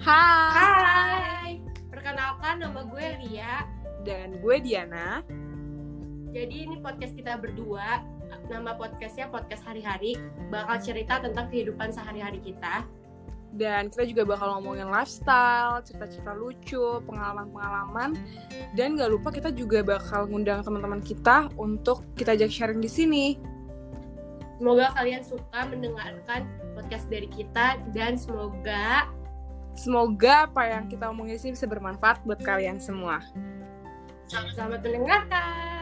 Hai. Hai. Perkenalkan nama gue Lia. Dan gue Diana. Jadi ini podcast kita berdua. Nama podcastnya Podcast Hari-Hari. Bakal cerita tentang kehidupan sehari-hari kita. Dan kita juga bakal ngomongin lifestyle, cerita-cerita lucu, pengalaman-pengalaman. Dan gak lupa kita juga bakal ngundang teman-teman kita untuk kita ajak sharing di sini. Semoga kalian suka mendengarkan podcast dari kita dan semoga Semoga apa yang kita omongin di sini bisa bermanfaat buat kalian semua. selamat mendengarkan.